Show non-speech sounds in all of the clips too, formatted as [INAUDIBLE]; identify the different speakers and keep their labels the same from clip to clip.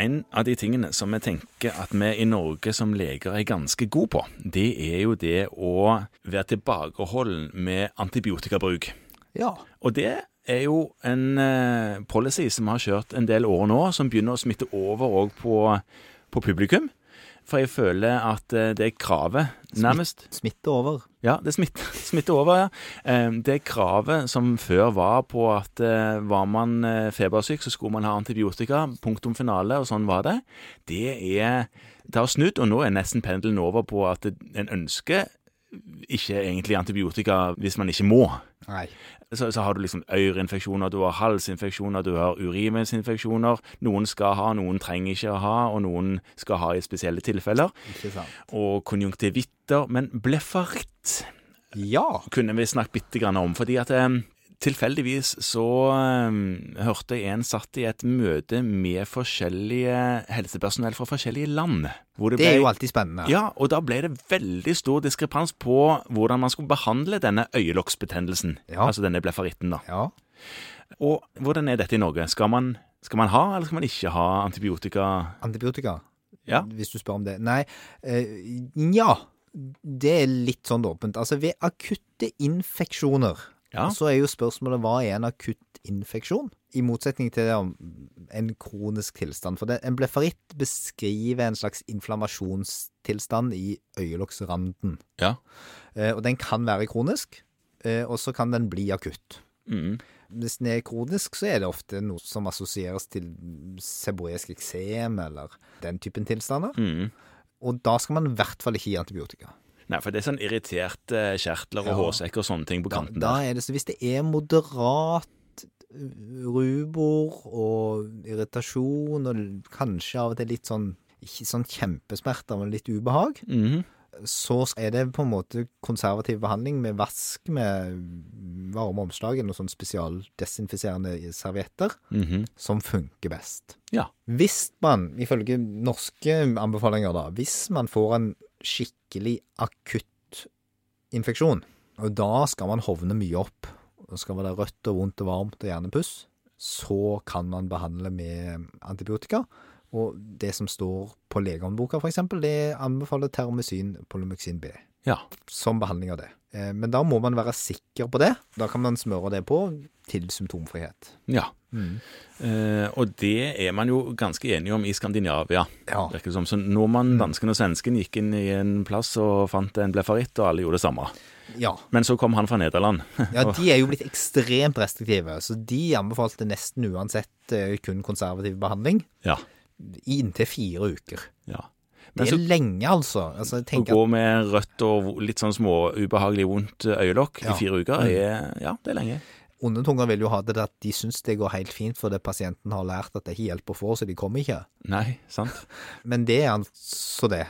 Speaker 1: en av de tingene som vi tenker at vi i Norge som leger er ganske gode på, det er jo det å være tilbakeholden med antibiotikabruk.
Speaker 2: Ja.
Speaker 1: Og det er jo en eh, policy som har kjørt en del år nå, som begynner å smitte over òg på, på publikum. For jeg føler at eh, det kravet nærmest
Speaker 2: Smitte over.
Speaker 1: ja, det smitter, [LAUGHS] smitter over, ja. Eh, Det kravet som før var på at eh, var man eh, febersyk, så skulle man ha antibiotika, punktum finale, og sånn var det, det er Det har snudd, og nå er nesten pendelen over på at en ønsker ikke egentlig antibiotika hvis man ikke må
Speaker 2: Nei.
Speaker 1: så, så har du liksom øyerinfeksjoner, du har halsinfeksjoner, du har urinveisinfeksjoner. Noen skal ha, noen trenger ikke å ha, og noen skal ha i spesielle tilfeller.
Speaker 2: Ikke sant.
Speaker 1: Og konjunktivitter. Men bleffaritt
Speaker 2: Ja.
Speaker 1: kunne vi snakket bitte grann om. fordi at eh, tilfeldigvis så eh, hørte jeg en satt i et møte med forskjellige helsepersonell fra forskjellige land. hvor
Speaker 2: Det er
Speaker 1: ble-
Speaker 2: jo alltid spennende.
Speaker 1: ja, og da ble det veldig stor diskrepans på hvordan man skulle behandle denne øyelokksbetennelsen.
Speaker 2: Ja.
Speaker 1: Altså denne blefaritten, da.
Speaker 2: Ja.
Speaker 1: Og hvordan er dette i Norge? Skal man, skal man ha, eller skal man ikke ha antibiotika?
Speaker 2: Antibiotika,
Speaker 1: Ja.
Speaker 2: hvis du spør om det. Nei, eh, nja. Det er litt sånn åpent. Altså, ved akutte infeksjoner,
Speaker 1: Ja.
Speaker 2: så er jo spørsmålet hva er en akutt infeksjon? I motsetning til det om en kronisk tilstand. For det, en blefaritt beskriver en slags inflammasjonstilstand i øyelokksranden.
Speaker 1: Ja.
Speaker 2: Eh, og den kan være kronisk, eh, og så kan den bli akutt.
Speaker 1: Mm.
Speaker 2: Hvis den er kronisk, så er det ofte noe som assosieres til seboresk eksem eller den typen tilstander.
Speaker 1: Mm.
Speaker 2: Og da skal man i hvert fall ikke gi antibiotika.
Speaker 1: Nei, for det er sånn irriterte kjertler og
Speaker 2: Ja.
Speaker 1: hårsekker og sånne ting på
Speaker 2: Da,
Speaker 1: kanten
Speaker 2: da
Speaker 1: der.
Speaker 2: er det så Hvis det er moderat øh, rubor og irritasjon og kanskje av og til litt sånn ikke sånn kjempesmerter, men litt ubehag,
Speaker 1: Mhm.
Speaker 2: så er det på en måte konservativ behandling med vask med varme omslag og sånn spesialdesinfiserende servietter.
Speaker 1: Mhm.
Speaker 2: som funker best.
Speaker 1: Ja.
Speaker 2: Hvis man, ifølge norske anbefalinger da, hvis man får en skikkelig akutt infeksjon, og da skal man hovne mye opp, og skal være rødt og vondt og varmt og hjernepuss, så kan man behandle med antibiotika. Og det som står på legehåndboka for eksempel, det anbefaler termysin polymyxin B
Speaker 1: Ja.
Speaker 2: som behandling av det. Eh, Men da må man være sikker på det. Da kan man smøre det på til symptomfrihet.
Speaker 1: ja.
Speaker 2: Mm.
Speaker 1: Eh, og det er man jo ganske enige om i Skandinavia.
Speaker 2: Ja. Mm.
Speaker 1: Virker det som. Så når man, dansken og svensken gikk inn i en plass og fant en blefaritt, og alle gjorde det samme.
Speaker 2: Ja.
Speaker 1: Men så kom han fra Nederland. [LAUGHS]
Speaker 2: Ja, de er jo blitt ekstremt restriktive, så de anbefalte nesten uansett eh, kun konservativ behandling
Speaker 1: ja.
Speaker 2: i inntil fire uker.
Speaker 1: ja. Men
Speaker 2: Det er
Speaker 1: så
Speaker 2: lenge, altså. altså
Speaker 1: å
Speaker 2: jeg tenker
Speaker 1: gå
Speaker 2: at,
Speaker 1: med rødt og vo- litt sånn små ubehagelig vondt øyelokk
Speaker 2: Ja. Mm.
Speaker 1: i fire uker, er, ja, det er lenge.
Speaker 2: Onde tunger vil jo ha det til at de syns det går helt fint, fordi pasienten har lært at det ikke hjelper for, så de kommer ikke.
Speaker 1: Nei,
Speaker 2: [LAUGHS]
Speaker 1: sant?
Speaker 2: Men det er altså det.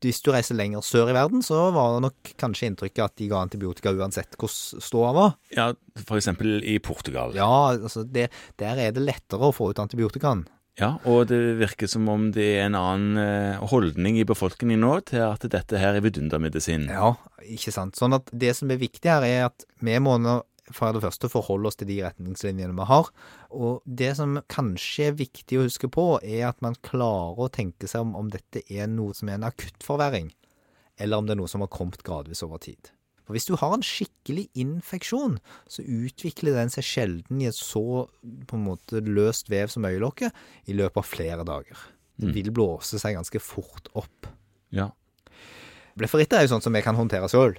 Speaker 2: Hvis du reiser lenger sør i verden, så var det nok kanskje inntrykket at de ga antibiotika uansett hvordan ståa var.
Speaker 1: Ja, for eksempel i Portugal.
Speaker 2: Ja, altså det, der er det lettere å få ut antibiotikaen.
Speaker 1: Ja, og det virker som om det er en annen eh, holdning i befolkningen nå til at dette her er vidundermedisin.
Speaker 2: Ja, ikke sant. Sånn at det som er viktig her, er at vi må nå for det første forholde oss til de retningslinjene vi har. Og det som kanskje er viktig å huske på, er at man klarer å tenke seg om om dette er noe som er en akutt forverring, eller om det er noe som har kommet gradvis over tid. For hvis du har en skikkelig infeksjon, så utvikler den seg sjelden i et så på en måte løst vev som øyelokket i løpet av flere dager. Det vil blåse seg ganske fort opp.
Speaker 1: Ja.
Speaker 2: Blefaritter er jo sånt som vi kan håndtere sjøl,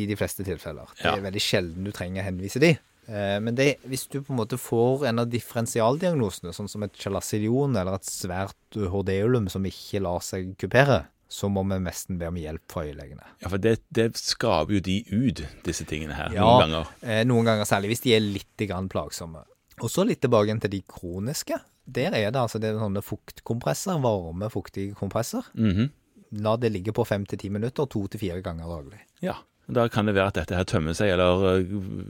Speaker 2: i de fleste tilfeller. Det
Speaker 1: Ja.
Speaker 2: er veldig sjelden du trenger å henvise de. Eh, Men det, hvis du på en måte får en av differensialdiagnosene, sånn som et chalasilion eller et svært hordeolum som ikke lar seg kupere, så må vi nesten be om hjelp fra øyelegene.
Speaker 1: Ja, for det, det skraper jo de ut, disse tingene her,
Speaker 2: Ja.
Speaker 1: noen ganger.
Speaker 2: Eh, Noen ganger særlig hvis de er litt grann plagsomme. Og så litt tilbake igjen til de kroniske. Der er det altså det er sånne fuktkompresser, varme, fuktige kompresser.
Speaker 1: Mhm.
Speaker 2: La det ligge på fem til ti minutter, to til fire ganger daglig.
Speaker 1: Ja, da kan det være at dette her tømmer seg, eller eh,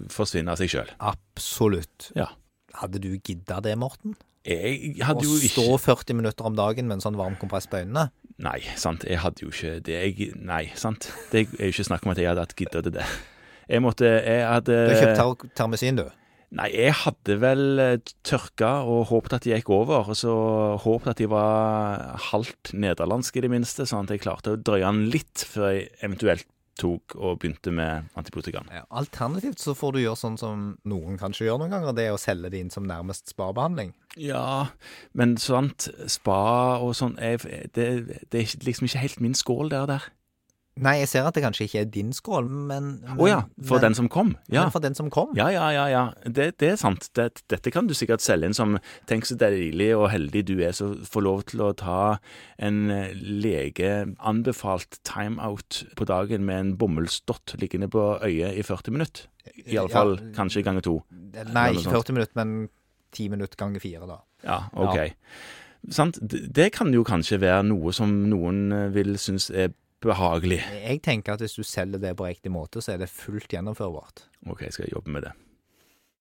Speaker 1: forsvinner av seg sjøl.
Speaker 2: Absolutt.
Speaker 1: Ja.
Speaker 2: Hadde du gidda det, Morten?
Speaker 1: Jeg
Speaker 2: Å
Speaker 1: hadde jo
Speaker 2: stå
Speaker 1: ikke
Speaker 2: 40 minutter om dagen med en sånn varm kompress på øynene?
Speaker 1: Nei, sant. Jeg hadde jo ikke det. Jeg, nei, sant. Det er jo ikke snakk om at jeg hadde hatt gidda til det. Jeg måtte Jeg hadde
Speaker 2: Eh. Du har kjøpt ter termosin, du.
Speaker 1: Nei, jeg hadde vel eh, tørka og håpet at det gikk over. Og så håpet at de var halvt nederlandske, i det minste, sånn at jeg klarte å drøye den litt før jeg eventuelt tok og begynte med antibiotikaen.
Speaker 2: Ja, Alternativt så får du gjøre sånn som noen kanskje gjør noen ganger, det er å selge det inn som nærmest sparebehandling.
Speaker 1: Ja, men sant, spa og sånn jeg, det, det er ikke- liksom ikke helt min skål, det der.
Speaker 2: Nei, jeg ser at det kanskje ikke er din skål, men
Speaker 1: Å ja, for den som kom. Ja.
Speaker 2: Men for den som kom.
Speaker 1: Ja, ja, ja. ja. Det, det er sant. Det, dette kan du sikkert selge inn som Tenk så deilig og heldig du er som får lov til å ta en eh, legeanbefalt timeout på dagen med en bomullsdott liggende på øyet i 40 minutter. Iallfall
Speaker 2: Ja.
Speaker 1: kanskje ganger to.
Speaker 2: Nei,
Speaker 1: noe
Speaker 2: ikke
Speaker 1: sånt.
Speaker 2: 40 minutter, men 10 minutter ganger 4, da.
Speaker 1: Ja, OK. Sant? Det det kan jo kanskje være noe som noen eh, vil synes er behagelig.
Speaker 2: Jeg tenker at hvis du selger det på riktig måte, så er det fullt gjennomførbart.
Speaker 1: OK, jeg skal jobbe med det.